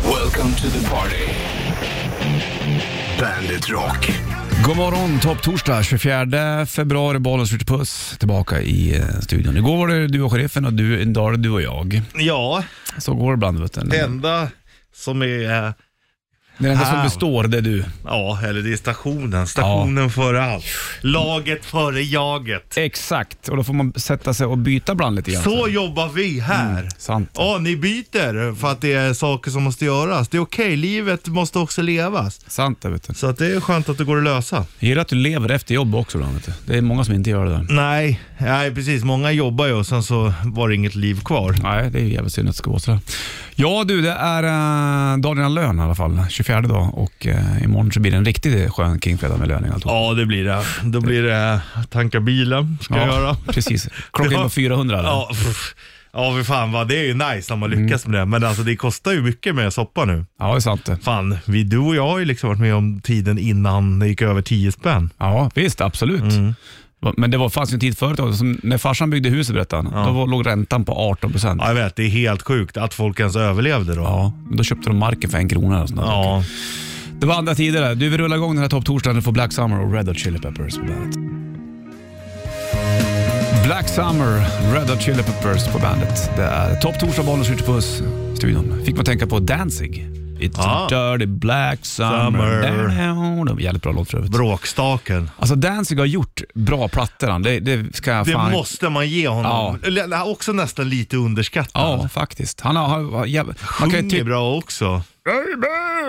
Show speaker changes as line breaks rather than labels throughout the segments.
Welcome to the party. Bandit Rock.
God morgon, topptorsdag 24 februari, Bollens Ritch Puss tillbaka i eh, studion. Igår var det du och sheriffen och du, idag är det du och jag.
Ja,
Så går det ibland vet du.
det
Det
enda som är, eh,
enda som
Wow.
består det är du.
ja, eller det är stationen. Stationen före allt. Laget före jaget.
Exakt, och då får man sätta sig och byta ibland lite grann.
Så jobbar vi här.
Sant.
Ja, ni byter för att det är saker som måste göras. Det är okej, livet måste också levas.
Sant det vet du.
Så att det är skönt att det går att lösa.
Gillar att du lever efter jobb också då, vet du. Det är många som inte gör det där.
Nej, nej precis. Många jobbar ju och sen så var det inget liv kvar.
Nej, det är ju jävligt synd att det ska vara sådär. Ja du, det är äh, dagen innan lön i alla fall. 24 dag och eh, imorgon så blir det en riktigt skön kingfredag med löning och allt.
Ja, det blir det. Då blir det tanka bilen, ska jag göra.
Precis. Klockan
Ja.
var 400 eller?
Ja, pff. ja för fan vad det är ju nice när man lyckas med det. Men alltså det kostar ju mycket med soppa nu.
ja, det är sant det.
Fan, vi, du och jag har ju liksom varit med om tiden innan det gick över 10 spänn.
Ja, visst. Absolut.
Mm.
Va- Men det var, fanns ju en tid förut också, som när farsan byggde huset berättade han, då var, låg räntan på 18 procent.
Ja, jag vet, det är helt sjukt att folk ens överlevde då.
Ja, men då köpte de marken för en krona eller sånt där.
Ja.
Det var andra tider där. Du, vi rullar igång den här topptorsdagen och får Black Summer och Red Hot Chili Peppers på bandet. Black Summer, Red Hot Chili Peppers på bandet. Det är topptorsdag, bollen skjuter puss. Studion. Fick man tänka på Danzig. It's
Ah.
a dirty black summer.
Summer.
summer. Jävligt bra låt för övrigt.
Bråkstaken.
Alltså Danzig har gjort bra plattor han. Det, det ska jag
Det
fan...
måste man ge honom.
Ja.
Eller, nej, Också nästan lite underskattad.
Ja, faktiskt. Han har... har, har jävla... Man kan ju
Sjunger
typ...
bra också.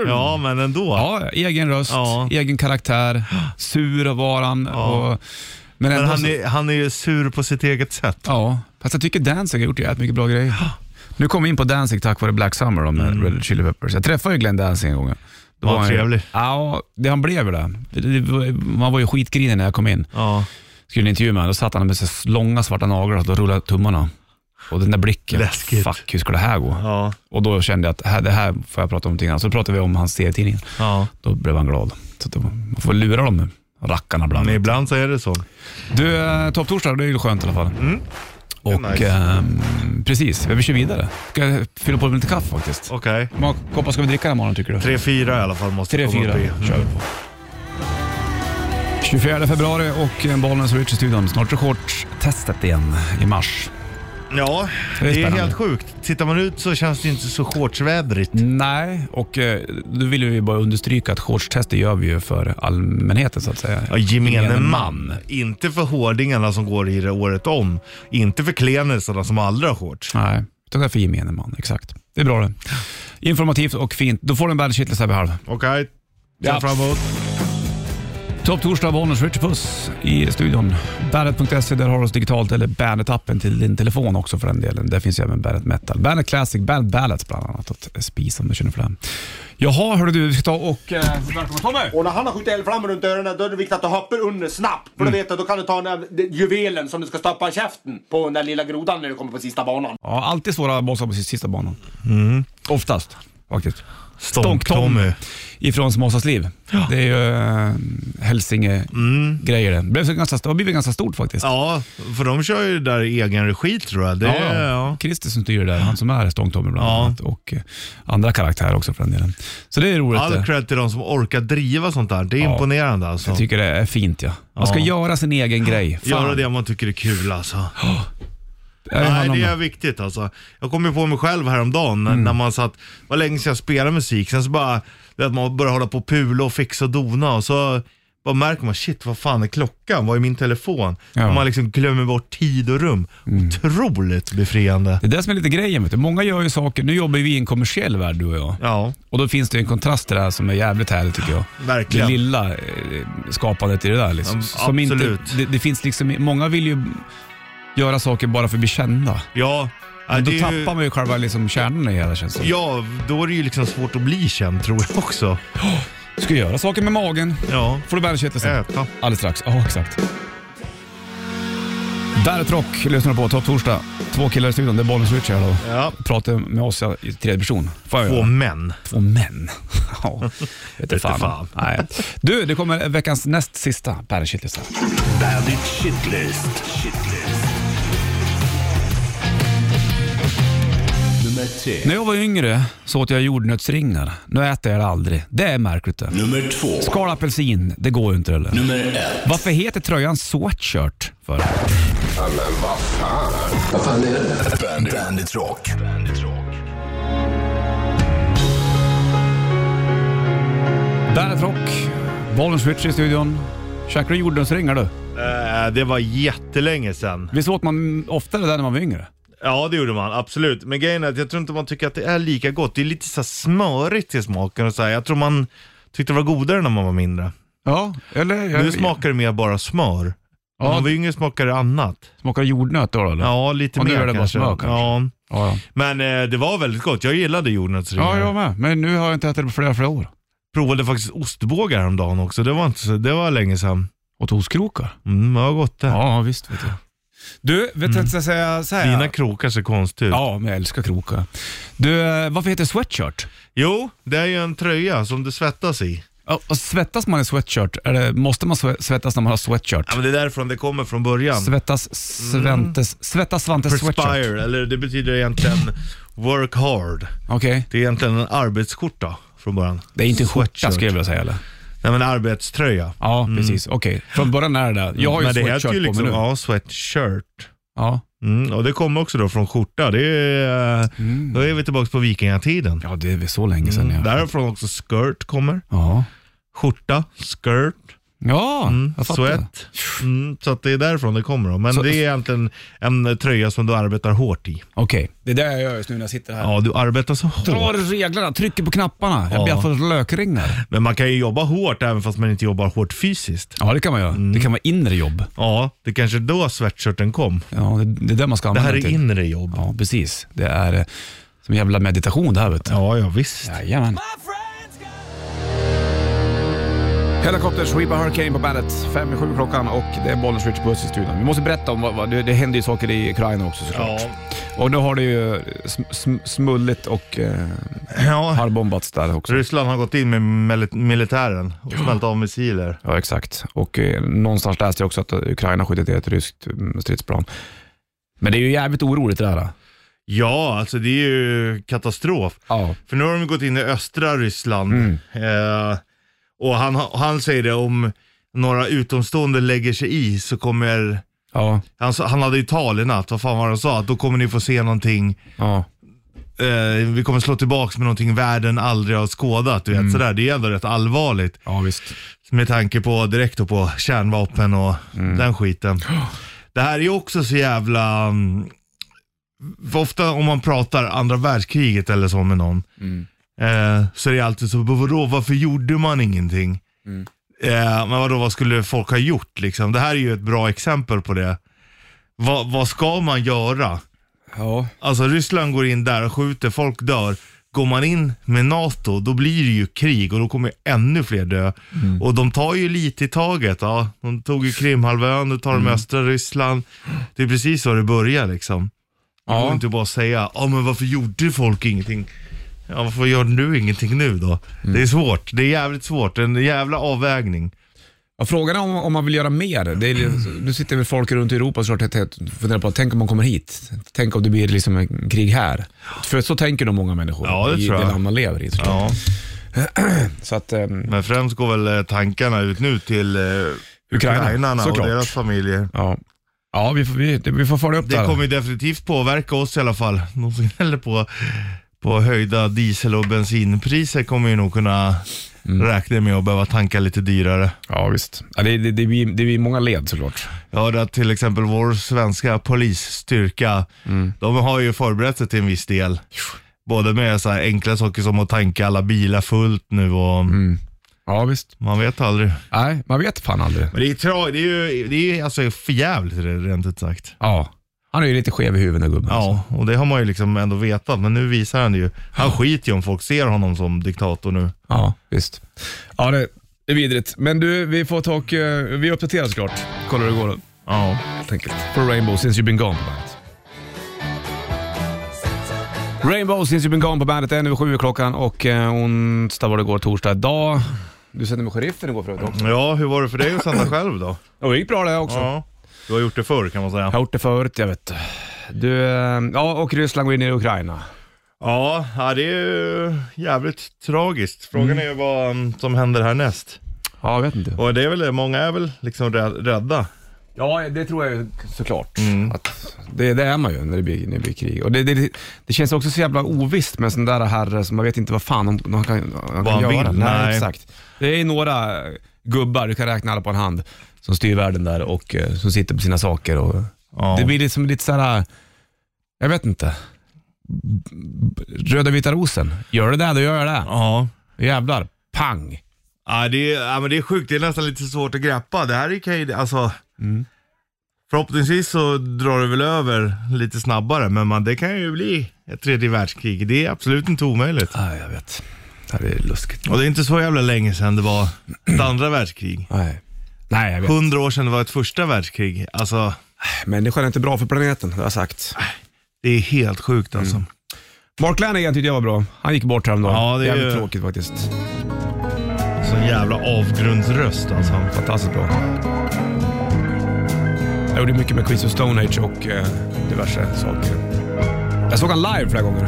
Ja, men ändå.
Ja, egen röst,
Ja.
egen karaktär, sur var han. Och... Men, ändå
Men han
så...
är, han är ju sur på sitt eget sätt.
Ja, fast jag tycker Danzig har gjort jävligt mycket bra grejer. Nu kom vi in på Danzig tack vare Black Summer då, med Red Hot Chili Peppers. Jag träffade ju Glenn Danzig en gång. Då
Mm. Vad
han ju-
trevlig.
Ja, det han blev väl det. Det- det var- Man var ju skitgrinig när jag kom in.
Ja.
Skulle en intervju med honom. Då satt han med så långa svarta naglar och då rullade tummarna. Och den där blicken.
Läskigt.
Fuck, hur ska det här gå?
Ja.
Och då kände jag att här, det här får jag prata om någonting annat. Så då pratade vi om hans serietidning.
ja.
Då blev han glad. Så att det var- man får lura dem rackarna ibland.
Men ibland så är det så.
Du, eh, topptorsdag, det är ju skönt i alla fall. Och
Mm. nice.
ehm, precis, vi kör vidare. Ska jag fylla på med lite kaffe faktiskt.
Okej.
Hur många koppar ska vi dricka imorgon tycker du?
Tre, fyra i alla fall måste
Tre,
komma
fyra
upp i.
kör vi på. 24 februari och eh, en Bollnäs Rich i studion. Snart är shortstestet igen i mars.
Ja,
Det är
det är
spännande.
helt sjukt. Tittar man ut så känns det inte så shortsvädrigt.
Nej, och eh, då vill vi bara understryka att shortstester gör vi ju för allmänheten så att säga.
Ja, gemene man. Inte för hårdingarna som går i det året om. Inte för klenisarna som aldrig har shorts.
Nej, utan det är för gemene man. Exakt. Det är bra det. Informativt och fint. Då får du en Bandit Shitlist här vid halv.
Okej, okay.
Ja.
fram emot.
Topp torsdag, Bollnäs Richard Puss i studion. Bandet.se, där har du oss digitalt, eller Bandet-appen till din telefon också för den delen. Där finns ju även Bandet Metal, Bandet Classic, Bandet Ballads bland annat att spisa om du känner för det. Jaha, hörru du, vi ska ta och... Eh, välkomna Tommy!
Och när han har skjutit eldflammor runt öronen då är det viktigt att du hoppar under snabbt. För då vet du, då kan du ta den där den juvelen som du ska stoppa i käften på den där lilla grodan när du kommer på sista banan.
Ja, alltid svåra bossar på sista banan.
Mm.
Oftast, faktiskt.
Stånk-Tommy.
ifrån Småsas liv. Det är ju eh, Hälsinge-grejer det. Blev så ganska, det har blivit ganska stort faktiskt.
Mm. Ja, för de kör ju där i egen regi tror jag. Det,
Ja, ja.
ja.
Christer som styr det där, han som är Stångtommy bland
Ja.
annat och eh, andra karaktärer också för den delen. Så det är roligt.
All
det.
cred till de som orkar driva sånt där. Det är
Ja.
imponerande alltså.
Jag tycker det är fint ja. Man ska
Ja.
göra sin egen grej. Fan.
Göra det man tycker är kul alltså.
Är det
Nej,
handlar om
det är
det?
viktigt alltså. Jag kom ju på mig själv häromdagen när,
Mm.
när man satt, var länge sedan jag spelade musik, sen så bara, du vet, man började hålla på och pula och fixa och dona och så bara märker man, shit vad fan är klockan? Vad är min telefon?
Ja. Mm.
Och man liksom glömmer bort tid och rum. Otroligt befriande.
det är det som är lite grejen. Vet du. Många gör ju saker, nu jobbar ju vi i en kommersiell värld du och jag.
Ja,
Och då finns det ju en kontrast till det här som är jävligt härlig tycker jag. Det
verkligen.
lilla eh, skapandet i det där. Liksom.
Ja,
Som inte,
absolut.
det, det finns liksom, många vill ju göra saker bara för att bli kända.
Ja, ja,
Men då
det är ju,
tappar man ju själva liksom kärnan i hela känns det som.
ja, då är det ju liksom svårt att bli känd tror jag också.
Ska göra saker med magen.
Ja, Äh,
Får du bandet sen.
äta.
Alldeles strax. Ja, exakt. Bandet Rock lyssnar du på. Topp torsdag. Två killar i studion. Det är Bollnäs Switch här då.
Ja,
Pratar med oss ja, i tredje person. Får jag
två
göra?
män.
Två män. ja, vete fan.
fan.
Nej. Du, det kommer veckans näst sista Bandet Shitlist här.
Bandit Shitlist. Shitlist. Nummer Morgonzoo.
När jag var yngre så åt jag jordnötsringar. Nu äter jag det aldrig. Det är märkligt det.
Nummer två.
Skal apelsin, det går ju inte eller?
Nummer ett.
Varför heter tröjan sweatshirt? För?
Bandit, Bandit Rock. Bandit Rock.
Bandet Rock, Bollen Switch i studion. Käkade du jordnötsringar du?
Eh, det var jättelänge sedan.
Visst åt man oftare där när man var yngre?
Ja, det gjorde man. Absolut. Men grejen är att jag tror inte man tycker att det är lika gott. Det är lite så här smörigt i smaken och så här. Jag tror man tyckte det var godare när man var mindre.
Ja, eller?
Nu smakar det mer bara smör. När
Ja.
man var yngre smakade det annat.
Smakar det jordnöt då eller?
Ja, lite
Och nu
mer
är det bara
kanske.
smör kanske.
Ja.
ja, ja.
Men eh, det var väldigt gott. Jag gillade jordnötsringar.
Ja, jag med. Men nu har jag inte ätit det på flera, flera år.
Provade faktiskt ostbågar häromdagen också. Det var, inte så, det var länge sedan.
Och toastkrokar.
Mm, vad gott det.
Ja, visst vet jag. Du, Mm. vet du jag ska säga så här?
Dina krokar ser konstiga ut.
Ja, men jag älskar krokar. Du, eh, varför heter det sweatshirt?
Jo, det är ju en tröja som du svettas i.
Ja, Och svettas man i sweatshirt? Är det, måste man sve- svettas när man har sweatshirt?
Ja, men det är därifrån det kommer från början.
Svettas Sventes, svettas Svantes sweatshirt?
Mm. Perspire, eller det betyder egentligen work hard.
Okej.
Det är egentligen en arbetsskjorta från början.
Det är inte en skjorta
Sweatshirt.
skulle jag vilja säga eller?
Nej men arbetströja.
Ja, precis. Okej, från början är det där. Jag har ju
men det
sweatshirt
heter ju
på
liksom,
mig nu.
ja, sweatshirt.
Ja.
Mm, och det kommer också då från skjorta. Det är, eh, Då är vi tillbaka på vikingatiden.
ja, det är väl så länge sedan.
Mm,
Mm. Ja.
därifrån också skirt kommer.
Ja,
Skjorta, skirt,
ja
mm,
jag fattar.
sweat. Mm, så att det är därifrån det kommer. Då. Men
Så-
det är egentligen en tröja som du arbetar hårt i.
Okej, det är det jag gör just nu när jag sitter här.
Ja, du arbetar så hårt.
Drar i reglarna, trycker på knapparna. Jag blir
Ja.
för lökringar.
Men man kan ju jobba hårt även fast man inte jobbar hårt fysiskt.
Ja, det kan man göra.
Mm.
Det kan vara inre jobb.
Ja, det kanske då sweatshirten kom.
Ja, det, det är det man ska
Det
använda
här är
till.
inre jobb.
Ja, precis. Det är eh, som jävla meditation det här vet du.
Ja, ja visst.
Jajamän. Helicopters, Reba Hurricane på bandet. Fem i sju klockan och det är Bollnäs Rich Puss i studion. Vi måste berätta om vad, vad det, det händer ju saker i Ukraina också såklart.
Ja.
Och nu har det ju sm, sm, smullit och eh,
Ja.
harbombats där också.
Ryssland har gått in med mil- militären och smält av missiler.
Ja, exakt. Och eh, någonstans läste jag också att Ukraina skjutit ner ett ryskt mm, stridsplan. Men det är ju jävligt oroligt det där.
Ja, alltså det är ju katastrof.
Ja.
För nu har de gått in i östra Ryssland.
Mm.
Eh, och han, han säger det om några utomstående lägger sig i så kommer,
Ja.
han, sa- han hade ju tal i natt, vad fan var det han sa? Att då kommer ni få se någonting,
Ja.
eh, vi kommer slå tillbaks med någonting världen aldrig har skådat. Du vet, sådär. Det är ändå rätt allvarligt.
ja, visst.
Med tanke på direkt då på kärnvapen och den skiten. Det här är ju också så jävla... mm, för ofta om man pratar andra världskriget eller så med någon. Eh, så är det alltid så, "Men vadå varför gjorde man ingenting? Eh, men vadå vad skulle folk ha gjort liksom? Det här är ju ett bra exempel på det. Va, vad ska man göra?
Ja.
Alltså Ryssland går in där och skjuter, folk dör. Går man in med NATO, då blir det ju krig och då kommer ännu fler dö.
Mm.
Och de tar ju lite i taget. Ja. De tog ju Krimhalvön, nu tar de
Mm.
östra Ryssland. Det är precis så det börjar liksom. Det går
Ja.
inte bara att säga, ja men varför gjorde folk ingenting? Ja, varför gör du ingenting nu då?
Mm.
Det är svårt, det är jävligt svårt. En jävla avvägning.
Ja, frågan är om, om man vill göra mer. Det är, liksom- nu sitter väl folk runt i Europa såklart och funderar på, tänk om man kommer hit? Tänk om det blir liksom en krig här? För så tänker nog många människor
Ja, det
i
tror jag.
det land man lever i. såklart.
Ja.
Så att, ehm,
Men främst går väl eh, tankarna ut nu till eh,
Ukraina,
ukrainarna och
såklart.
deras familjer.
ja. Ja, vi får, vi, vi får följa upp det,
Det
här.
kommer ju definitivt påverka oss i alla fall. De som gnäller på, på höjda diesel och bensinpriser kommer ju nog kunna räkna med att behöva tanka lite dyrare.
Ja, visst. Ja, det, det, det, blir, det blir många led såklart.
Jag hörde att till exempel vår svenska polisstyrka, de har ju förberett sig till en viss del. Både med så här enkla saker som att tanka alla bilar fullt nu och
Ja, visst.
man vet aldrig.
Nej, man vet fan aldrig.
Men det är, tra- det är ju det är alltså förjävligt rent ut sagt.
Ja. Han är ju lite skev i huvudet gubben. alltså.
Ja, och det har man ju liksom ändå vetat, men nu visar han det ju. Han skiter ju om folk ser honom som diktator nu.
ja, visst. Ja, det är vidrigt. Men du, vi får ta och, eh, vi uppdaterar såklart. Kollar hur det går.
Ja.
helt enkelt. För Rainbow since you've been gone på bandet. Rainbow since you've been gone på bandet, en över sju är klockan och eh, onsdag var det igår, torsdag idag. Du sände med sheriffen igår förut också.
Ja, hur var det för dig att sända själv då?
Och det gick bra det också.
Ja. Du har gjort det förr kan man
Jag har
säga.
gjort det förut, jag vet. Du, eh, ja och Ryssland går in i Ukraina.
Ja, ja, det är ju jävligt tragiskt. Frågan är ju vad mm, som händer härnäst.
Ja, jag vet inte.
Och det är väl det, många är väl liksom rä- rädda.
Ja, det tror jag ju såklart. Att det, det är man ju när det blir, när det blir krig. Och det, det, det känns också så jävla ovisst med en sån där herre som man vet inte vad fan han, han kan, han
Vad
kan
han
göra.
vill, nej.
exakt. Det är några gubbar, du kan räkna alla på en hand, som styr världen där och eh, som sitter på sina saker. Och,
Ja.
Det blir liksom lite såhär, jag vet inte. B- Röda vita rosen. Gör du det, då gör jag det.
Ja.
Jävlar. Pang.
Ja, det är, ja, men det är sjukt. Det är nästan lite svårt att greppa. Det här kan ju, alltså. Förhoppningsvis så drar det väl över lite snabbare, men man, det kan ju bli ett tredje världskrig. Det är absolut inte omöjligt.
Nej, jag vet. Det här är lustigt.
Och det är inte så jävla länge sedan det var ett andra världskrig.
Nej. Nej, jag vet.
Hundra år sedan det var ett första världskrig. Alltså,
Människan är inte bra för planeten, det har jag sagt.
det är helt sjukt alltså.
Mark Lanigan tyckte jag var bra. Han gick bort häromdagen.
Ja, det är
Jävligt
ju-
tråkigt faktiskt.
Sån jävla avgrundsröst alltså.
Fantastiskt bra. Jag gjorde mycket med Queens of Stone Age och eh, diverse saker. Jag såg han live flera gånger.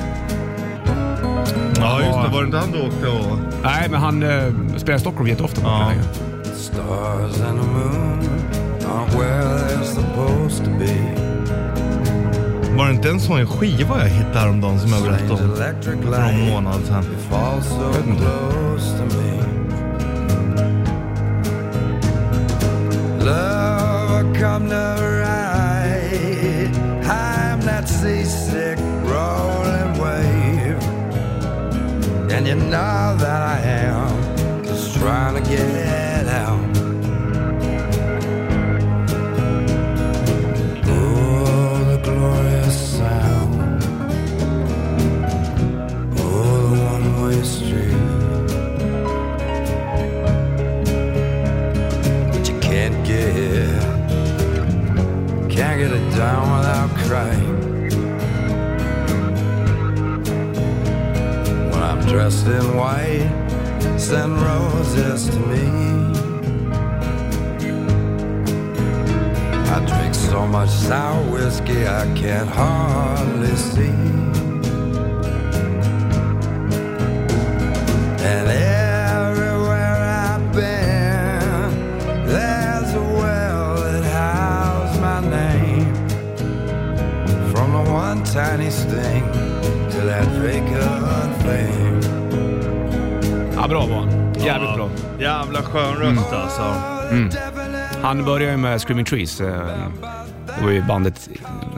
Ja, just det. Var det inte han du åkte och...
Nej, men han eh, spelar i Stockholm jätteofta. Mark
Ja.
Lanigan.
Stars and the moon are where they're supposed to be.
Var det inte en sån skiva jag hittade häromdagen som jag berättade
Strange
om?
electric
För någon
light
månad sedan.
falls so close to me. Love, I come to ride. I'm that seasick rolling wave. And you know that I am just trying to get out. Oh, the glorious sound. Oh, the one-way street. But you can't get here. Can't get it down without crying. When I'm dressed in white, send roses to me. I drink so much sour whiskey I can hardly see. And everywhere I've been, there's a well that houses my name. From the one tiny sting to that vacant flame.
Ja, bra var han. Jävligt bra.
Jävla skön röst alltså.
Han började ju med Screaming Trees. eh, Det var ju bandet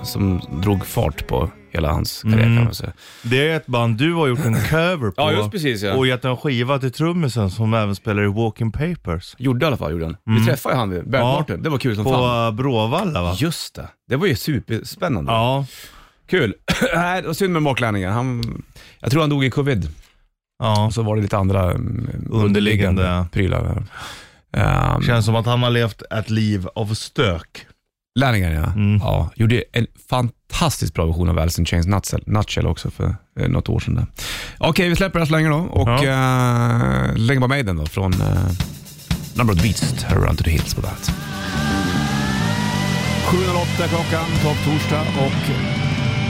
som drog fart på hela hans karriär kan man säga.
Det är ett band du har gjort en cover på.
Ja, just precis, ja.
Och gett en skiva till trummisen som även spelar i Walking Papers.
Gjorde i alla fall, gjorde han. Vi träffade ju han, Bert Martin. Det var kul som
På
fan.
eh, Bråvalla va?
Just det. Det var ju superspännande.
Ja.
Kul. Nej, det var synd med Mark Lanningen. Han, jag tror han dog i covid.
ja.
Och så var det lite andra mm,
Underliggande.
prylar. där. Ehm,
Känns som att han har levt ett liv av stök.
Lanningen ja. ja. Gjorde en fantastiskt bra version av Alice in Chains Nutshell, Nutshell också för eh, något år sedan. där. Okej, vi släpper det här så länge då och
Ja.
eh, lägger på Maiden då från eh, Number of the Beast, Around to the Hills på bandet. 7.08 klockan, topp torsdag och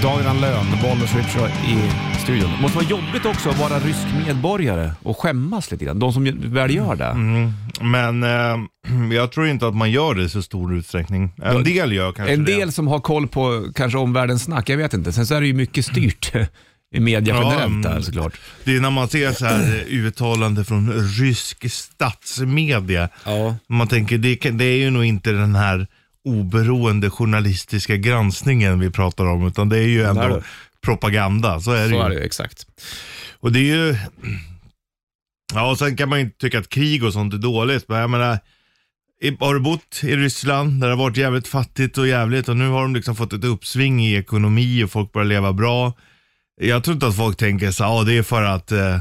Dagen Lön, Bollnäs Richard i studion. Det måste vara jobbigt också att vara rysk medborgare och skämmas lite grann. De som ju- väl gör det.
Men eh, jag tror inte att man gör det i så stor utsträckning. En del gör kanske
En
det.
del som har koll på kanske omvärldens snack, jag vet inte. Sen så är det ju mycket styrt i media
Ja,
generellt där
mm.
såklart.
Det är när man ser så här eh, uttalande från rysk statsmedia.
Ja.
Man tänker, det, kan- det är ju nog inte den här oberoende journalistiska granskningen vi pratar om, utan det är ju ändå
är det.
propaganda. Så är det
Så
ju.
är det ju, exakt.
Och det är ju... Ja, och sen kan man ju inte tycka att krig och sånt är dåligt, men jag menar, i- har du bott i Ryssland där det har varit jävligt fattigt och jävligt och nu har de liksom fått ett uppsving i ekonomi och folk börjar leva bra. Jag tror inte att folk tänker så ja det är för att eh,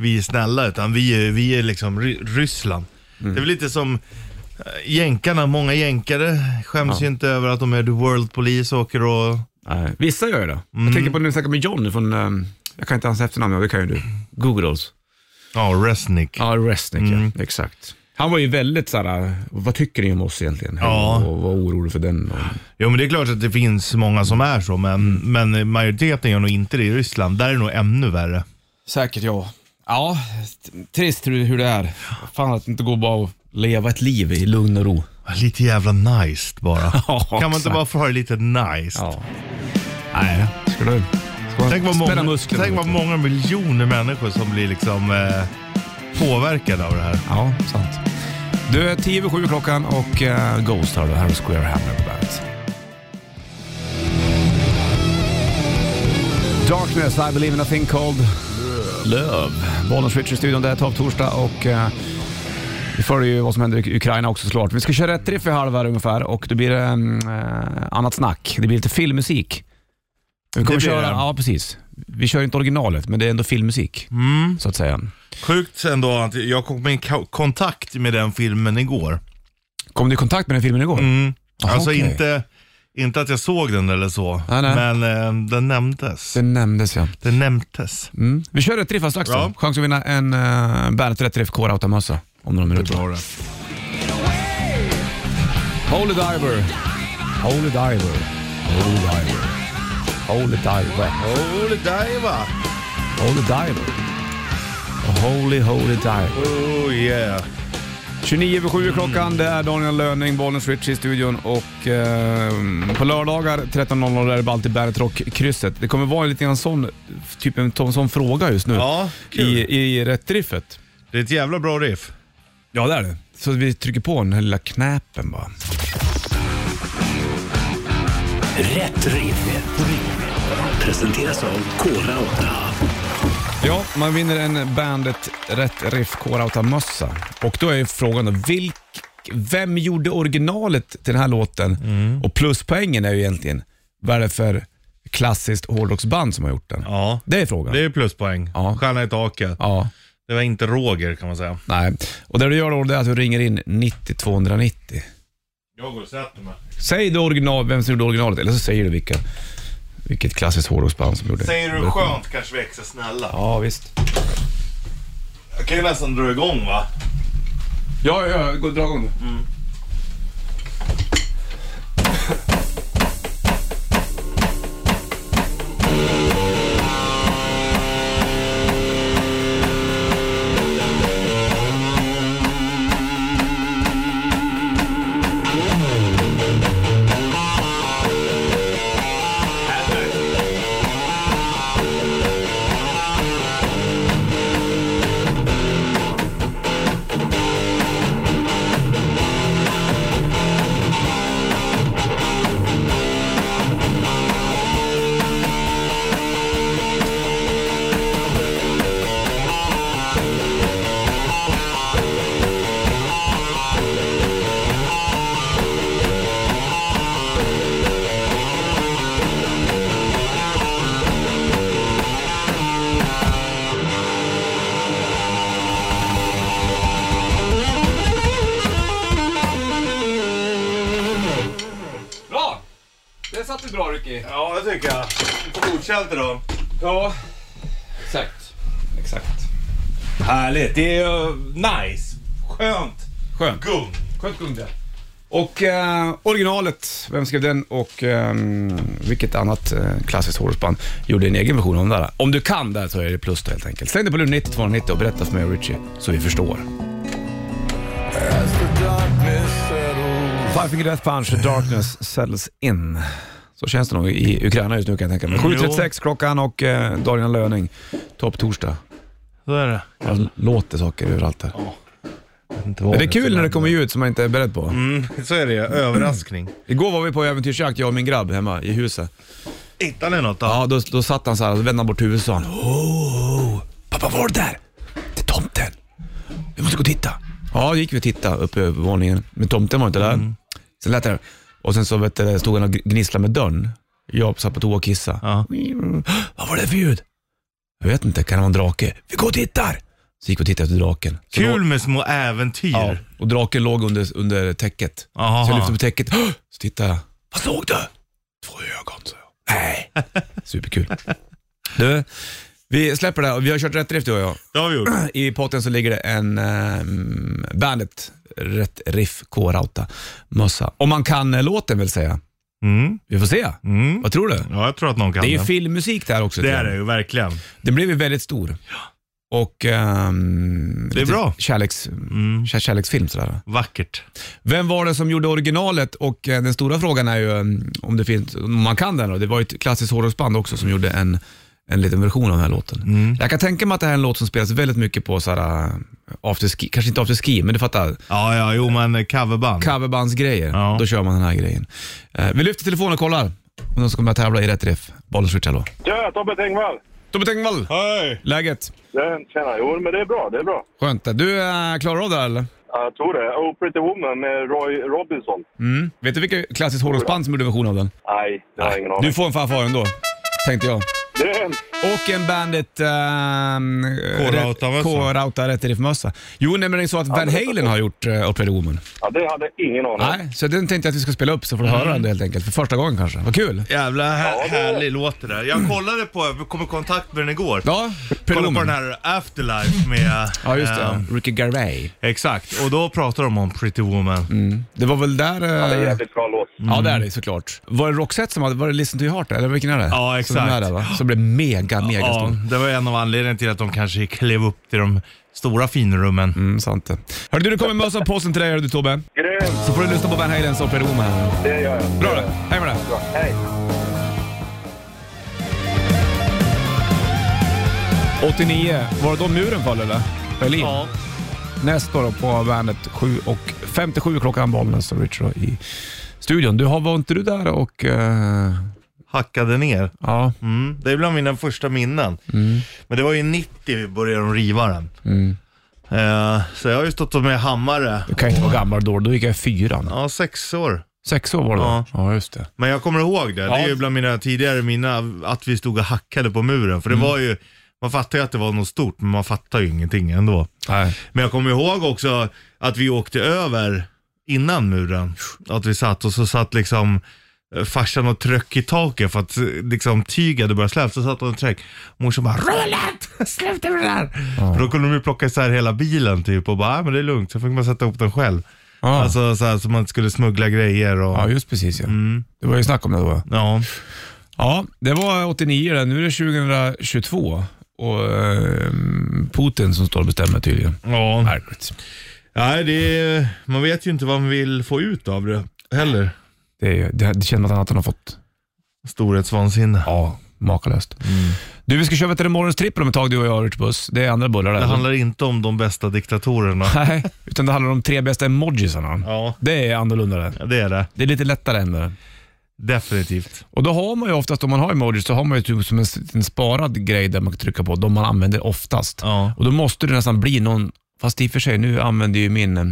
vi är snälla, utan vi är, vi är liksom Ry- Ryssland. Det är väl lite som eh, jänkarna, många jänkare skäms ju inte över att de är the world police och åker och
Nej, Vissa gör ju det. Jag tänker på
Mm.
när du snackade med John från, ehm, jag kan inte hans efternamn, men det kan ju du. Googles.
Ja, Resnick. Mm.
Ja, Resnick ja. Exakt. Han var ju väldigt såhär, vad tycker ni om oss egentligen?
Ja.
Och var orolig för den. Och,
Jo men det är klart att det finns många som är så, men, men majoriteten gör nog inte det i Ryssland. Där är det nog ännu värre.
Säkert ja. Ja, trist hur, hur det är. Fan att det inte går bara att leva ett liv i lugn och ro.
Lite jävla nice bara.
Ja,
kan man inte
exakt.
bara få ha det lite nice?
Ja. Nej, ska du... Ska
Tänk vad,
spänna
många,
musklerna
tänk vad
lite.
många miljoner människor som blir liksom eh, påverkade av det här.
Ja, sant. Du, är 10 över 7 klockan och eh, Ghost har du, Harry Square Hamlet på bandet. Darkness, I believe in a thing called Love. Bollen switch i studion, det är topp torsdag och eh, vi följer ju vad som händer i Ukraina också såklart. Vi ska köra rätt riff i halv här ungefär och det blir um, annat snack. Det blir lite filmmusik. Vi kommer
blir
köra,
det.
ja precis. Vi kör ju inte originalet, men det är ändå filmmusik,
Mm.
så att säga.
Sjukt ändå att jag kom i ka- kontakt med den filmen igår.
Kom du i kontakt med den filmen igår?
Mm.
Aha,
alltså
okej.
inte, inte att jag såg den eller så,
Nej, nej.
men eh, den nämndes.
Den nämndes ja.
Den nämndes.
Mm. Vi kör ett riff alldeles strax
Ja.
då. Chans att vinna en uh, Bandet Rätt Riff K-Rauta-mössa om några minuter.
det.
Holy Diver. Holy Diver. Holy Diver. Holy Diver.
Holy diva!
Holy Diver. Holy, holy diver.
Oh yeah.
29 över 7 är klockan, det är Daniel Löning, Bollnäs Rich i studion och eh, på lördagar 13.00 är det alltid Bandet Rock-krysset. Det kommer vara lite grann sån, typ en sån- sån fråga just nu
Ja, kul.
i, i Rätt Riffet.
Det är ett jävla bra riff.
Ja, det är det. Så vi trycker på den här lilla knäppen bara.
Rätt riff. Presenteras av Kora 8.
Ja, man vinner en Bandet Rätt Riff K-Rauta-mössa. Och då är ju frågan då, vilk, vem gjorde originalet till den här låten? Och pluspoängen är ju egentligen, vad är det för klassiskt hårdrocksband som har gjort den?
Ja.
Det är frågan.
Det är pluspoäng.
Ja.
Stjärna i taket.
Ja,
Det var inte Roger kan man säga.
nej. Och det du gör då det är att du ringer in 90 290.
Jag går och sätter mig.
Säg då original, vem som gjorde originalet, eller så säger du vilka, vilket klassiskt hårdrocksband som gjorde
Säger du skönt kanske vi är extra snälla.
Ja, visst.
Jag kan ju nästan dra igång va?
Ja, ja, ja, gå dra igång nu. Bra! Det satt du bra Ricky.
Ja det tycker jag. Du får godkänt idag.
Ja, exakt. Exakt.
Härligt. Det är ju nice. Skönt
Skönt.
gung.
Skönt gung det. Och eh, originalet, vem skrev den och eh, vilket annat eh, klassiskt hårdrocksband gjorde en egen version av den där? Om du kan det här så är det plus då helt enkelt. Släng dig på luren 9290 och berätta för mig och Richie så vi förstår.
As the darkness settles,
Five Finger Death Punch, Darkness Settles In. Så känns det nog i Ukraina just nu kan jag tänka mig. 7.36 klockan och eh, Daniel Löning, topp torsdag.
Så är det.
Jag låter saker överallt här.
Inte
Men det är kul när det kommer ljud som man inte är beredd på.
Mm, så är det Överraskning.
Igår var vi på äventyrsjakt, jag och min grabb hemma i huset.
Hittade ni något då?
Ja, då, då satt han så här och vände han bort huvudet och sa han, oh, Pappa, var det där? Det är tomten. Vi måste gå och titta. Ja, då gick vi och tittade uppe över våningen. Men tomten var inte där.
Mm.
Sen lät det. Och sen så vet du, stod han och gnisslade med dörren. Jag satt på toa och kissade.
Ja.
Vad var det för ljud? Jag vet inte, kan det vara en drake? Vi går och tittar! Så gick vi och tittade efter draken. Så
Kul
Då,
med små äventyr.
ja, och draken låg under, under täcket.
Aha.
Så liksom- jag lyfte på täcket, "Åh!" så tittade jag. Vad såg du? Två ögon, sa jag. Nej. Superkul. Du, Vi släpper det här. Vi har kört rätt riff du och jag.
Det har vi gjort.
I potten så ligger det en um, Bandet Rätt Riff K-Rauta mössa. Om man kan eh, låten vill säga.
Mm.
Vi får se.
Mm.
Vad tror du?
Ja, jag tror att någon kan
Det är ju
den.
filmmusik det här också.
Det
tror
är
jag.
det ju verkligen.
Den blev ju väldigt stor. Och ehm,
Det är
lite
bra. Mm.
Kärleks, kär, kärleksfilm sådär.
Vackert.
Vem var det som gjorde originalet? Och eh, den stora frågan är ju mm, om, det finns, om man kan den. Då. Det var ju ett klassiskt hårdrocksband också som gjorde en, en liten version av den här låten. Jag kan tänka mig att det här är en låt som spelas väldigt mycket på såhär, eh, afterski, kanske inte afterski, men du fattar.
Ja, ja, jo men coverband.
Coverbandsgrejer.
Ja.
Då kör man den här grejen. Eh, vi lyfter telefonen och kollar om de som kommer att tävla i rätt riff. Bollen switch, hallå.
Tja, Tobbe Tengvall.
Tobbe Tengvall,
Hej!
läget?
Tjena, Tjena, jo men det är bra, det är bra.
Skönt. Du eh, klarar av det här eller?
Ja, Jag tror det. Oh Pretty Woman med Roy Robinson.
Mm. Vet du vilka klassiskt hårdrocksband som gjorde version av den?
Nej, det har jag ingen aning.
Du får en fanfar ändå, tänkte jag.
Det är en...
Och en Bandit... ehm,
K-Rauta-mössa.
rätt- K-Rauta rätt riffmössa. Jo, nej, men det är så att Van Halen har gjort uh, Opera Woman.
Ja, det hade jag ingen aning om.
Nej, så den tänkte jag att vi ska spela upp så får du
Mm.
höra den helt enkelt. För första gången kanske. Vad kul!
Jävla här,
Ja, det-
härlig låt det där. Jag kollade på, jag kom i kontakt med den igår.
Ja, Opera
Kollade på
Woman.
den här Afterlife med...
Ja, just det.
eh,
ja. Ricky Garvey.
Exakt, och då pratar de om Pretty Woman.
Mm, Det var väl där... eh, Mm.
Ja, det är en jävligt bra låt.
Ja, det är det såklart. Var det Roxette som hade... Var det Listen to your heart eller vilken är det?
Ja,
Som, den
exakt.
här, där, va? som blev mega, mega
Ja,
stor.
det var en av anledningarna till att de kanske klev upp till de stora finrummen.
Mm, sant det. Hörru du, det kommer mössa på påsen till dig hör du Tobbe.
Grymt,
Så får du lyssna på Van Halens Opera Woman.
det gör jag.
Bra du, hej med dig.
Bra, Hej.
89, var det då muren föll eller? Berlin? Ja. Näst då, då på bandet 7 och 57 klockan Bollnäs och Richard i studion. Du, har- var inte du där och... eh,
Hackade ner.
ja,
Mm. Det är bland mina första minnen. Men det var ju 90 vi började de riva den. Eh, så jag har ju stått med hammare.
du kan ju inte vara gammal då. Då gick jag i fyran.
Ja, sex år.
Sex år var det då?
Ja.
Ja, just det.
Men jag kommer ihåg det. Det
Ja.
är ju bland mina tidigare minnen att vi stod och hackade på muren. För det var ju, man fattar ju att det var något stort, men man fattar ju ingenting ändå.
Nej.
Men jag kommer ihåg också att vi åkte över innan muren. Att vi satt och så satt liksom eh, farsan och tröck i taket för att eh, liksom tyg hade börjat släppa. Så satt han och tröck. Morsan bara Roland! Sluta med det där! För Då kunde de ju plocka isär hela bilen typ och bara, "Ah, men det är lugnt. Så fick man sätta ihop den själv.
Ja.
Alltså så, här, så man inte skulle smuggla grejer och
ja,
ja.
just precis ja. Det var ju snack om det då. Ja, det var 89 det. Nu är det 2022 och eh, Putin som står och bestämmer tydligen.
Mm. Ja.
Märkligt.
Nej, det är, man vet ju inte vad man vill få ut av det heller.
Det, är, ju- det, det känns som att han har fått
Storhetsvansinne.
Ja, makalöst.
Mm.
Du, vi ska köra Veterinärmorgons trippel om ett tag du och jag Richard Puss. Det är andra bullar där.
Det handlar inte om de bästa diktatorerna.
Nej, utan det handlar om de tre bästa emojisarna.
Ja,
Det är annorlunda det.
det är det.
Det är lite lättare än det.
Definitivt.
Och då har man ju oftast, om man har emojis, så har man ju typ som en, s- en sparad grej där man kan trycka på, de man använder oftast.
Ja.
Och då måste det nästan bli någon, fast i och för sig, nu använder ju min eh,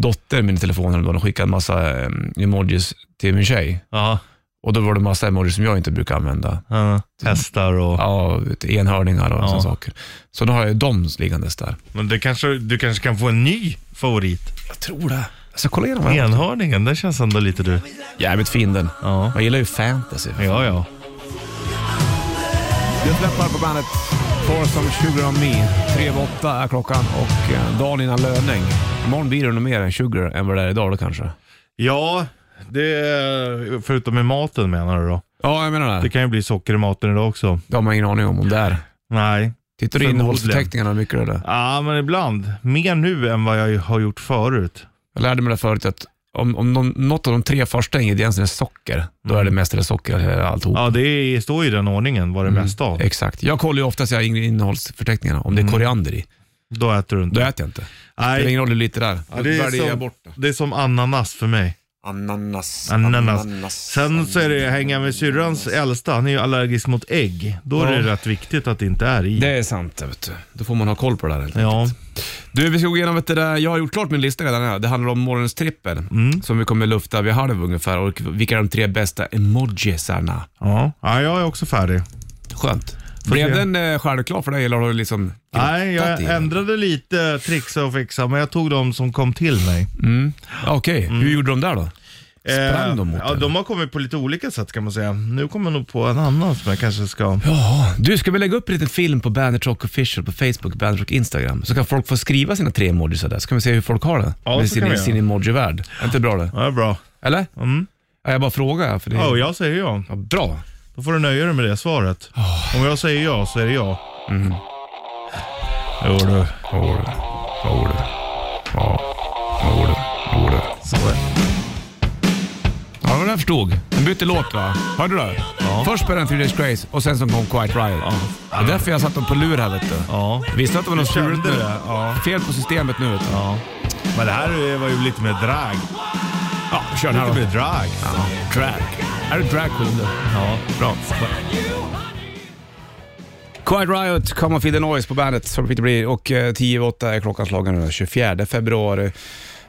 dotter min telefon häromdagen och skickade en massa eh, emojis till min tjej.
Ja.
Och då var det massa emojis som jag inte brukar använda.
ja. Hästar och...
Ja, vet, enhörningar och
Ja.
sådana saker. Så då har jag ju dem liggandes där.
Men det kanske, du kanske kan få en ny favorit.
Jag tror det. Jag ska kolla igenom den.
Enhörningen, den känns ändå lite du.
Jävligt fin den.
Ja.
Jag gillar ju fantasy.
Ja, ja.
Du släpper på bandet Forsom Sugar on Me. Tre över åtta är klockan och eh, dagen innan löning. Imorgon blir det nog mer än sugar än vad det är idag då kanske.
Ja, det... Förutom med maten menar du då?
Ja, jag menar
Det
det.
kan ju bli socker i maten idag också.
Det har man ingen aning om om det är.
Nej.
Tittar du i
Förmodligen.
innehållsförteckningarna hur mycket det är?
Ja, men ibland. Mer nu än vad jag har gjort förut.
Jag lärde mig det förut att om, om någon, något av de tre första ingredienserna är socker, då
Mm.
är det mestadels socker eller alltihop.
Ja, det är- står ju i den ordningen vad det
Mm.
är mest av.
Exakt. Jag kollar ju oftast jag har ing- innehållsförteckningarna, om det är koriander i.
Då äter du
Då
inte.
äter jag inte.
Mm. Nej.
Spelar ingen roll hur lite det är.
Ja,
Då
det,
väljer
är
jag
som,
bort det.
det är som ananas för mig.
Ananas.
Ananas. Sen så är det hänga med syrrans äldsta, han är ju allergisk mot ägg. Då är det rätt viktigt att det inte är i.
Det är sant det, vet du. Då får man ha koll på det där helt enkelt.
Ja,
Du, vi ska gå igenom vet du, det där. Jag har gjort klart min lista redan här. Det handlar om morgonens trippel
Mm.
som vi kommer lufta vid halv ungefär och vilka är de tre bästa emojisarna?
ja. ja jag är också färdig.
Skönt. Blev
se.
den eh, självklar för dig eller har du liksom
Nej,
grottat
jag
i den?
ändrade lite trixa och fixa, men jag tog de som kom till mig. Mm.
Okej, hur gjorde de där då? Sprang de mot
Eh, ja,
den?
de har kommit på lite olika sätt kan man säga. Nu kommer jag nog på en annan som jag kanske ska...
Ja, du ska vi lägga upp en liten film på Bandit Rock Official på Facebook, Bandit Rock Instagram, så kan folk få skriva sina tre emojisar där, så kan vi se hur folk har det
Ja,
med
så
sin,
kan vi göra.
sin emoji-värld. Är inte bra det?
Ja, det är bra.
Eller?
Mm. Oh,
Ja, jag bara frågar, för det är...
Ja, och jag säger ja.
Ja, bra.
Då får du nöja dig med det svaret. Om jag säger ja så är det ja. Mm. Jo
Vad gjorde
du.
du? Vad gjorde du? Ja, vad gjorde du? Vad gjorde du?
Så är det.
Ja, det var det jag förstod. Den bytte låt va? Hörde du? Ja. Först spelade den Three Days Grace och sen så kom Quiet Riot. Det är därför jag satt dem på lur här vet du.
Ja.
Visste du att det var något
kände
struligt nu?
det, ja.
Fel på systemet nu vet du.
ja. Men det här var ju lite mer drag.
Ja, kör den här
Lite
då.
mer drag.
Ja, drag. Är du drag queen då?
Ja.
Bra. Quiet Riot, Come and Feed the Noise på bandet som Peter blir och eh, 10 över 8 är klockan slagen nu den 24 februari.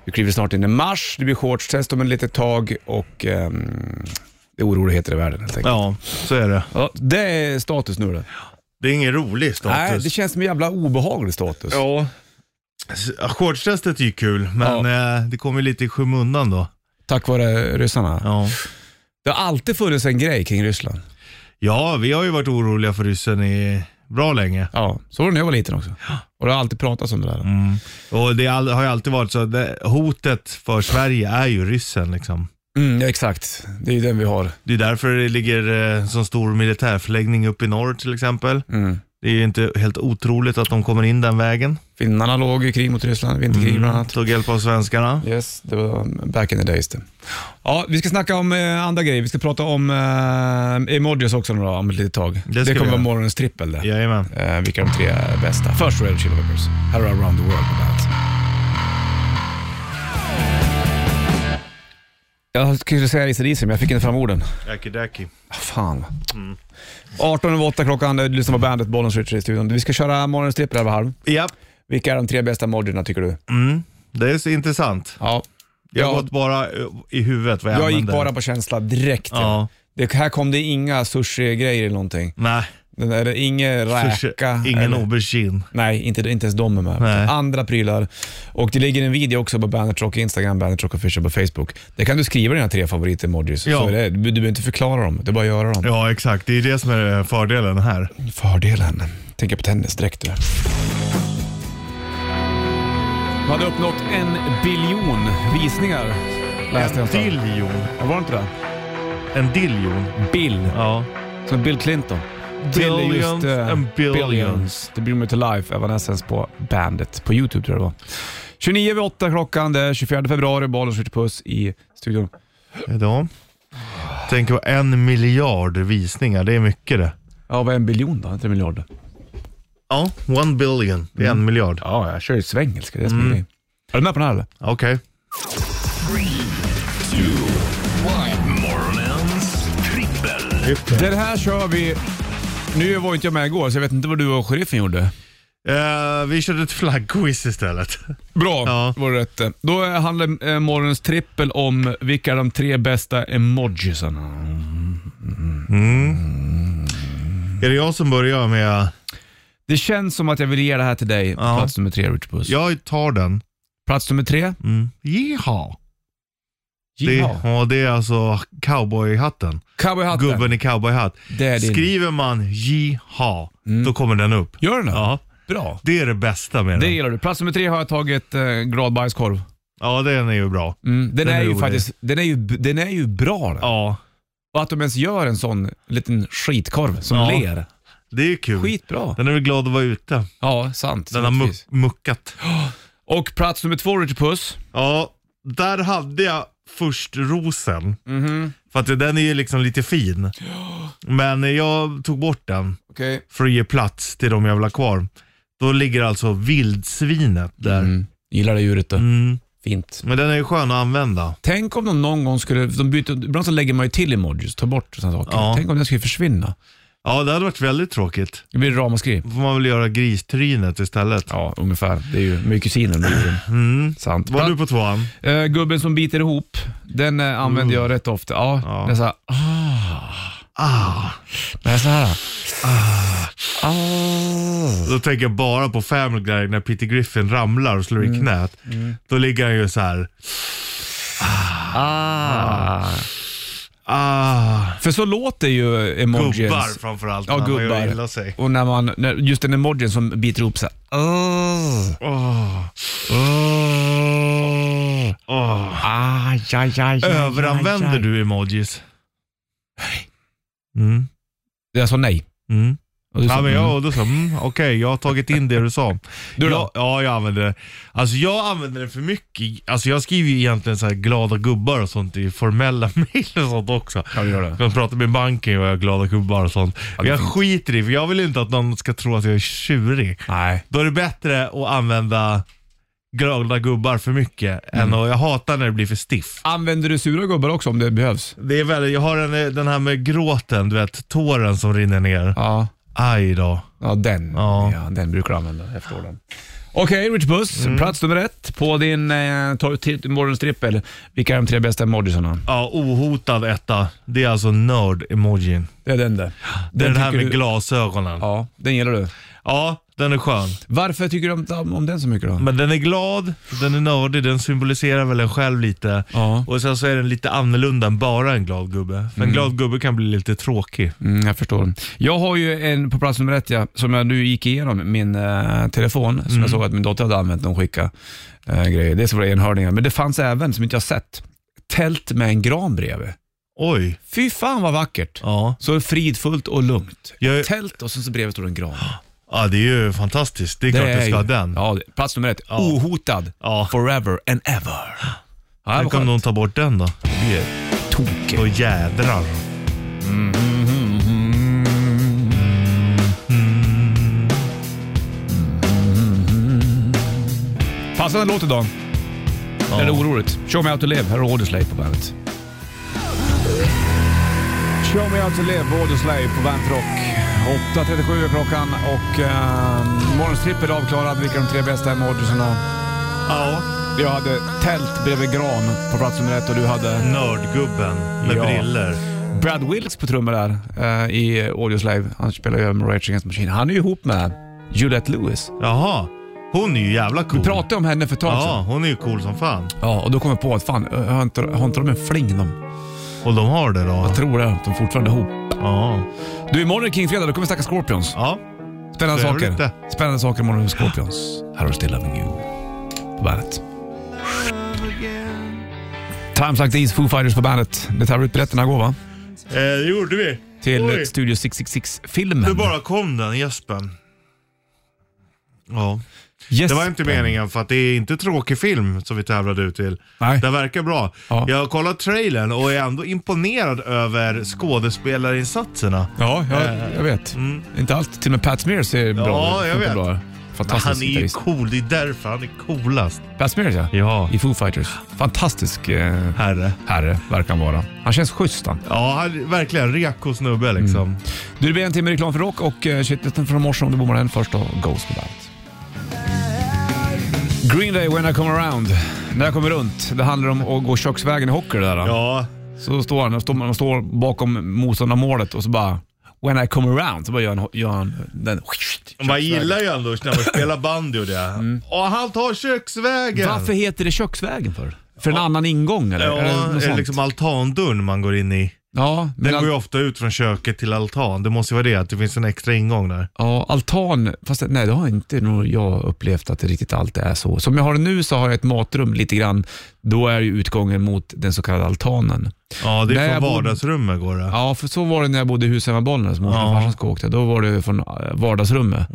Vi kliver snart in i mars, det blir shortstest om ett litet tag och ehm, det är oroligheter i världen helt enkelt.
Ja, så är det.
Ja. Det är status nu det.
Det är ingen rolig
Nej,
status.
det känns som en jävla obehaglig status.
Ja. S- Ackordstestet är ju kul, men eh, det kommer lite i skymundan då.
Tack vare ryssarna.
Ja.
Det har alltid funnits en grej kring Ryssland.
ja, vi har ju varit oroliga för ryssen i bra länge.
Ja, så var det när jag var liten också. Och det har alltid pratats om det där.
Mm. Och det all, har ju alltid varit så, att det, hotet för Sverige är ju ryssen liksom.
Mm, ja, exakt. Det är ju den vi har.
Det är därför det ligger eh, så stor militärförläggning uppe i norr till exempel.
Mm.
Det är ju inte helt otroligt att de kommer in den vägen.
Finnarna låg i krig mot Ryssland, vinterkrig bland annat.
Tog hjälp av svenskarna.
Mm. Yes, det var back in the days det. Ja, vi ska snacka om eh, andra grejer. Vi ska prata om eh, emojis också nu då, om ett litet tag.
ska
Det,
vi
kommer
göra.
vara morgonens trippel det.
Jajamän.
Eh, vilka är de tre bästa? Först Red Hot Chili Peppers. Här är Around the World på bandet. Jag skulle säga ACDC, men jag fick inte fram orden. Ah,
Aki-daki.
Fan. 18 över 8 klockan, du lyssnar på bandet, Bollens Richard i studion. Vi ska köra morgonens trippel här vid halv.
Ja,
Vilka är de tre bästa emojierna tycker du?
det är så intressant.
Ja.
Jag har
Ja.
gått bara eh, i huvudet vad jag,
Jag gick
använder.
bara på känsla direkt.
Ja.
Det, här kom det inga sushi-grejer eller någonting.
Nej,
Den där, ingen
Sushi,
räka.
ingen
eller,
aubergine.
Nej, inte, inte ens de är med.
Nej.
Andra prylar. Och det ligger en video också på Bandit Rock Instagram, Bandit Rock Official på Facebook. Där kan du skriva dina tre favoriter-emojis.
Ja.
Så är det- Du, du behöver inte förklara dem, det är bara att göra dem.
Ja, exakt. Det är det som är fördelen här.
Fördelen. Tänker på tennisdräkt du. De hade uppnått en biljon visningar, läste jag. någonstans.
En diljon.
Ja, Var det inte det?
En diljon.
Bill.
Ja.
Som Bill Clinton. Till
Billions
just, eh,
and billions.
Det blir med till life, Evanescence på Bandit. På YouTube tror jag det var. 29 vid 8 klockan, det är 24 februari, Bollen skjuter puss i studion.
Idag. Tänk på en miljard visningar. Det är mycket det.
Ja, vad är en biljon då? Inte en miljard?
Ja, one billion. Mm. Det är en miljard.
Ja, jag kör ju svengelska. Det är mm. Är du med på den här eller?
Okej.
Morgonens trippel.
Den här kör vi... Nu var ju inte jag med igår, så jag vet inte vad du och sheriffen gjorde.
Eh, vi körde ett flaggquiz istället.
Bra,
Ja.
det var rätt. Då handlar eh, morgonens trippel om vilka är de tre bästa emojisarna.
Mm. Är det jag som börjar med...
Det känns som att jag vill ge det här till dig på
Ja.
plats nummer tre, Richard Puss.
Jag tar den.
Plats nummer tre.
Mm. Jeha. Det,
Jiha.
ja, det är alltså cowboyhatten.
Cowboyhatten.
Gubben i cowboyhatt.
Det är din. Mm.
Skriver man jeha, då kommer den upp.
Gör den det?
Ja.
Bra.
Det är det bästa med
Det
den.
gillar du. Plats nummer tre har jag tagit eh, glad bajskorv.
Ja, den är ju bra.
Mm. Den, är, ju
rolig.
faktiskt, den är ju, den är ju bra den.
Ja,
Och att de ens gör en sån liten skitkorv som
Ja.
ler.
det är ju kul.
Skitbra.
Den är väl glad att vara ute.
Ja, sant.
Den har
Sant,
muck,
precis.
muckat.
Och plats nummer två, Richard Puss.
Ja, där hade jag först rosen.
Mm-hmm.
För att den är ju liksom lite fin. Men jag tog bort den
Okej.
för att ge plats till de jag vill ha kvar. Då ligger alltså vildsvinet där.
Mm. Gillar det djuret då.
Mm.
Fint.
Men den är ju skön att använda.
Tänk om de någon gång skulle, de byter, ibland så lägger man ju till emojis, tar bort sådana saker.
Ja.
Tänk om den skulle försvinna.
Ja, det hade varit väldigt tråkigt.
Det blir ramaskri.
Då får man väl göra gristrynet istället.
Ja, ungefär. Det är ju mycket kusiner med djuren.
Mm.
Sant.
Var du på tvåan?
Eh, gubben som biter ihop, den eh, använder jag rätt ofta. Ja,
Mm. Ja.
Den är såhär, ah.
Ah.
Den är såhär. Ah.
Då tänker jag bara på Family Guy
Mm.
när Peter Griffin ramlar och slår i knät. Då ligger han ju så här. Ah. Ah.
För så låter ju emojis.
Gubbar framförallt,
Ja,
när man
gubbar.
gör illa sig.
Och när man, när, just den emojin som biter ihop sig. Ah.
Åh. Åh. Åh.
Aj, aj, aj,
Ah. Överanvänder du emojis? Nej. Mm.
Jag sa alltså nej.
Mm.
Och du sa,
Ja, men
mm.
jag, och då sa, mm, okej, jag har tagit in det du sa.
Du då?
jag, ja, jag använder det. Alltså jag använder det för mycket. Alltså jag skriver ju egentligen så här glada gubbar och sånt i formella mejl och sånt också.
Ja, du gör det.
Jag pratar med banken och jag är glada gubbar och sånt. Men
det är
jag
fint.
skiter i för jag vill inte att någon ska tro att jag är tjurig.
Nej.
Då är det bättre att använda glada gubbar för mycket än
Mm.
att, jag hatar när det blir för stiff.
Använder du sura gubbar också om det behövs?
Det är väl, jag har den, den här med gråten, du vet, tåren som rinner ner.
Ja.
Aj då.
Ja, den. Ja.
Ja.
den brukar du använda. Jag förstår den. Okej, Rich Buss.
Mm.
Plats nummer ett på din eh, tor- till- morgonstrippel. Vilka är de tre bästa emojisarna?
Ja, ohotad etta. Det är alltså nörd-emojin.
Det är den där.
Det är den här
tycker
med
du-
glasögonen. Ja.
Ja, den gillar du.
den är skön.
Varför tycker du om- om, om den så mycket då?
Men den är glad, den är nördig, den symboliserar väl en själv lite.
Ja.
Och sen så är den lite annorlunda än bara en glad gubbe. För en glad gubbe kan bli lite tråkig.
Mm, jag förstår. Jag har ju en på plats nummer ett, ja, som jag nu gick igenom, min eh, telefon, som
Mm.
jag såg att min dotter hade använt när hon skickade eh, grejer. Det var det enhörningar, men det fanns även, som inte jag sett, tält med en gran bredvid.
Oj.
Fy fan vad vackert!
Ja.
Så fridfullt och lugnt.
Jag-
Tält och sen så bredvid står det en gran.
ja, det är ju fantastiskt. Det är Ah, klart
är
du
ju-
ska ha den.
Ja, det- plats nummer ett. Ohotad.
Ja. Ah.
Forever and ever. Ja, det var
Tänk om
skönt.
någon tar bort den då.
Tokig.
Då jädrar.
Passande låt idag. Det är oroligt. Show me how to live. Här har Audioslave på bandet. Show me how to live, Audioslave på bandet Rock. 8.37 är klockan och eh, morgonstrippel avklarad. Vilka är de tre bästa emojisarna?
Ja.
Jag hade tält bredvid gran på plats nummer ett och du hade
Nördgubben med
Ja.
briller.
Brad Wilks på trummor där eh, i Audioslave. Han spelar ju med Rage Against the Machine. Han är ju ihop med Juliette Lewis.
Jaha. Hon är ju jävla cool.
Vi pratade om henne för ett tag
Ja,
sedan.
hon är ju cool som fan.
Ja, och då kom jag på att fan, ö, har inte, har inte de en fling de?
Och de har det då.
Jag tror det. De är fortfarande ihop.
Ja.
Du, imorgon är det Kingfredag. Då kommer vi snacka Scorpions.
ja.
Spännande
Trevligt
saker.
det.
Spännande saker imorgon med Scorpions. Här har du Still Loving You på bandet. Times Like These, Foo Fighters på bandet. Det tar ut biljetterna går va?
Eh, det gjorde vi.
Till
Oj.
Studio 666-filmen.
Nu bara kom den, gäspen. Ja.
Yes.
Det var inte meningen för att det är inte tråkig film som vi tävlade ut till.
Nej.
Den verkar bra.
Ja.
Jag har kollat trailern och är ändå imponerad över skådespelarinsatserna.
Ja, jag, jag vet. Inte allt. Till och med Pat Smear ser bra
Eh. Mm. Ja, jag
Funkar
vet.
Bra.
Han
Fantastisk
är ju
gitarrist.
cool, det är därför han är coolast.
Pat Smear ja.
Ja.
I Foo Fighters. Fantastisk eh,
Herre.
herre verkar han vara. Han känns schysst han.
Ja, han, verkligen. Reko snubbe liksom.
Du, det blir en timme reklam för rock och eh, shitlisten från morse om du bommar den först och Ghost på bandet. Green Day When I Come Around. När jag kommer runt, det handlar om att gå köksvägen i hockey det där.
Ja,
Så står han, står, man står bakom motståndarmålet och så bara When I come around så bara gör han, gör han den.
man gillar ju ändå när man spelar bandy och det.
Mm.
Och han tar köksvägen!
Varför heter det köksvägen för? För en annan ingång eller?
Ja,
eller något
är det
sånt?
liksom altandörren man går in i?
ja,
Den
men
går ju
al-
ofta ut från köket till altan. Det måste ju vara det, att det finns en extra ingång där.
ja, altan, fast det- nej det har inte nog jag upplevt att det riktigt alltid är så. Som jag har det nu så har jag ett matrum lite grann, då är ju utgången mot den så kallade altanen.
Ja, det
Där
är
jag
från
bodde-
vardagsrummet går det.
Ja, för så var det när jag bodde i Husum med Bollnäs, som morsan och
Ja.
farsan ska åka. Då var det från eh, vardagsrummet.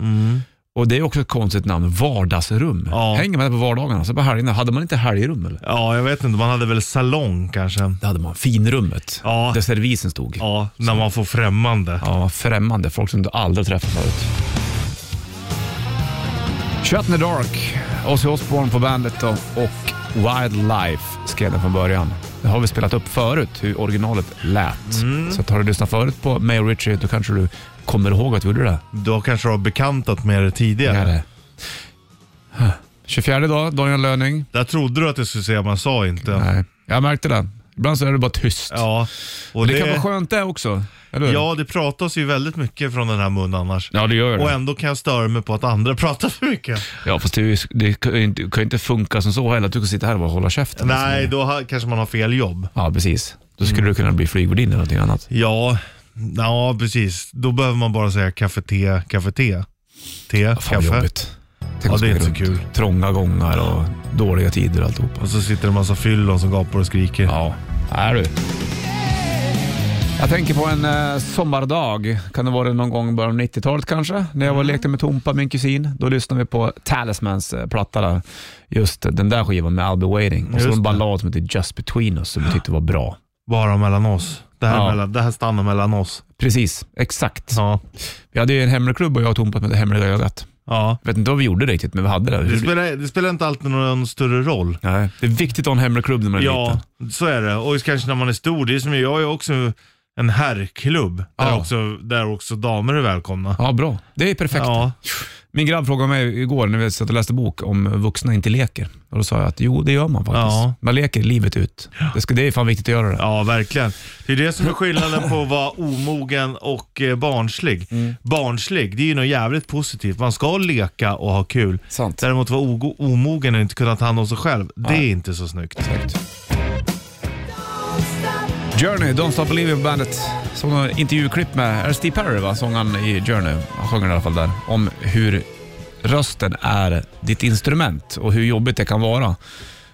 Och det är också ett konstigt namn, vardagsrum.
Ja.
Hänger man där på vardagarna, så på helgerna, hade man inte helgrum eller?
Ja, jag vet inte. Man hade väl salong kanske.
Det hade man, finrummet,
Ja.
där servisen stod.
Ja, när man får främmande.
Ja, främmande. Folk som du aldrig träffat förut. Shut in the Dark, Ozzy Osbourne på bandet då, och Wildlife skrev den från början. Det har vi spelat upp förut, hur originalet lät.
Mm.
Så att har du lyssnat förut på mig och Richie, då kanske du kommer ihåg att vi gjorde det.
Då kanske du har bekantat med det tidigare.
Ja. 24 dag, Daniel Löning.
Där trodde du att det skulle säga, man sa inte.
Nej, jag märkte det. Ibland så är det bara tyst.
Ja, och
det, kan vara skönt det också. Eller? hur?
Ja, det pratas ju väldigt mycket från den här munnen annars.
ja, det gör det.
Och ändå kan jag störa mig på att andra pratar för mycket.
Ja, fast det, är ju- det kan ju inte- kan ju inte funka som så heller, att du kan sitta här och bara hålla käften.
Nej, Mm. då ha, kanske man har fel jobb.
Ja, precis. Då skulle du kunna bli flygvärdinna eller någonting annat.
Ja, ja precis. Då behöver man bara säga kaffe, te, kaffe, te. Te,
Fan vad
kaffe.
jobbigt. Tänk
Ja,
att
det är
springa
inte så
runt. Trånga gångar och dåliga tider och alltihopa.
Och så sitter det en massa fyllon som gapar och skriker.
Ja, är du. Jag tänker på en eh, sommardag, kan det vara någon gång i början av 90-talet kanske? När jag var och lekte med Tompa, min kusin. Då lyssnade vi på Talismans eh, platta där. Just eh, den där skivan med I'll be waiting. Och så
Just
en
det.
ballad som heter Just between us som vi tyckte var bra.
Bara mellan oss. Det här,
Ja.
mellan, det här stannar mellan oss.
Precis, exakt.
Ja.
Vi hade ju en hemlig klubb och jag och Tompa som hette Hemliga ögat.
ja.
Jag vet inte vad vi gjorde riktigt, men vi hade det.
Det, spelar, det spelar inte alltid någon större roll.
Nej. Det är viktigt att ha en hemlig klubb när man är
Ja,
liten.
så är det. Och kanske när man är stor. Det är som jag, jag är också en herrklubb. Där,
Ja.
också, där också damer är välkomna.
Ja, bra. Det är perfekt.
Ja,
Min grabb frågade mig igår när vi satt och läste bok om vuxna inte leker. Och Då sa jag att jo, det gör man faktiskt.
Ja.
Man leker livet ut. Det, ska, det är fan viktigt att göra det.
ja, verkligen. Det är det som är skillnaden på att vara omogen och eh, barnslig.
Mm.
Barnslig, det är ju något jävligt positivt. Man ska leka och ha kul.
Sant.
Däremot vara ogo- omogen och inte kunna ta hand om sig själv, det är inte så snyggt.
Exakt. Journey, Don't Stop Believing på bandet. Såg några intervjuklipp med, är det Steve Perry va? Sångaren i Journey. Han sjunger i alla fall där. Om hur rösten är ditt instrument och hur jobbigt det kan vara.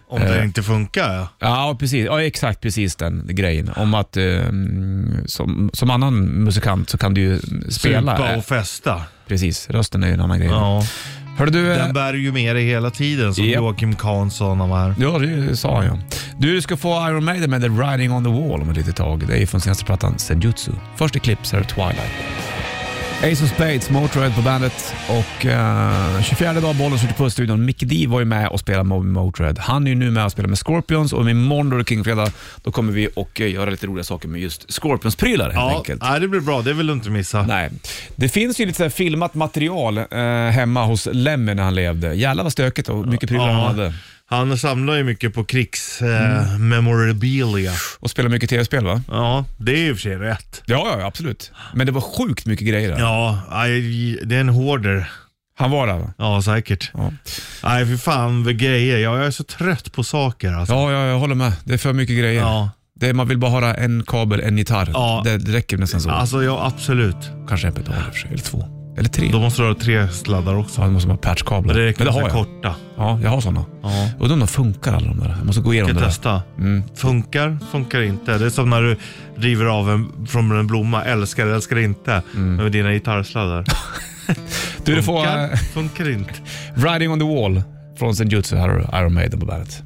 Om
Eh.
det inte funkar ja.
Ja, precis. Ja, exakt precis den grejen. Om att eh, som, som annan musikant så kan du ju spela.
Supa
Eh,
och festa.
Precis, rösten är ju en annan grej.
Ja.
Hörde du... eh,
Den bär ju med dig hela tiden som
Japp.
Joakim Kahn sa när han var här.
Ja, det sa han ju. Du ska få Iron Maiden med The Riding on the Wall om ett litet tag. Det är från senaste plattan Senjutsu. Först i klipp så är det Twilight. Ace of Spades, Motörhead på bandet och eh, 24 dag bollen skjuter på studion. Mick D var ju med och spelade med Motörhead. Han är ju nu med och spelar med Scorpions och imorgon då är det Kingfredag. Då kommer vi och eh, göra lite roliga saker med just Scorpions-prylar helt
Ja,
enkelt.
nej, det blir bra. Det vill du inte missa.
Nej. Det finns ju lite så här filmat material eh, hemma hos Lemmy när han levde. Jävlar vad stökigt och mycket prylar han hade.
Han samlar ju mycket på
Mm.
krigsmemorabilia.
Och spelar mycket tv-spel va?
ja, det är ju i och för sig rätt.
Ja, ja, absolut. Men det var sjukt mycket grejer där.
Ja, nej, det är en hoarder.
Han var där va?
Ja, säkert.
Ja.
Nej, för fan vad grejer. Ja, jag är så trött på saker alltså.
Ja, ja, jag håller med. Det är för mycket grejer.
Ja.
Det är, man vill bara ha en kabel, en gitarr.
Ja.
Det, det räcker nästan så.
Alltså, ja absolut.
Kanske en pedal i och för sig, eller två. Eller tre.
Då måste du ha tre sladdar också.
Ja, då måste man ha patchkablar.
Det räcker
Men det
med
har
så
jag.
korta.
Ja, jag har sådana.
Ja.
Undrar om de funkar alla de där. Jag måste gå igenom
Ska
det där.
testa. Funkar, funkar inte. Det är som när du river av en från en blomma. Älskar, älskar inte. Men med dina gitarrsladdar.
Du, du får
Funkar,
eh,
funkar inte.
Riding on the Wall från Senjutsu. Här har du Iron Maiden på bandet.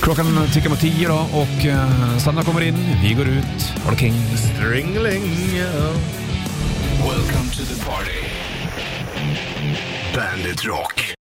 Klockan tickar mot tio då och eh, Sandra kommer in. Vi går ut. Har det king.
Stringling. ja.
Welcome to the party. Bandit Rock.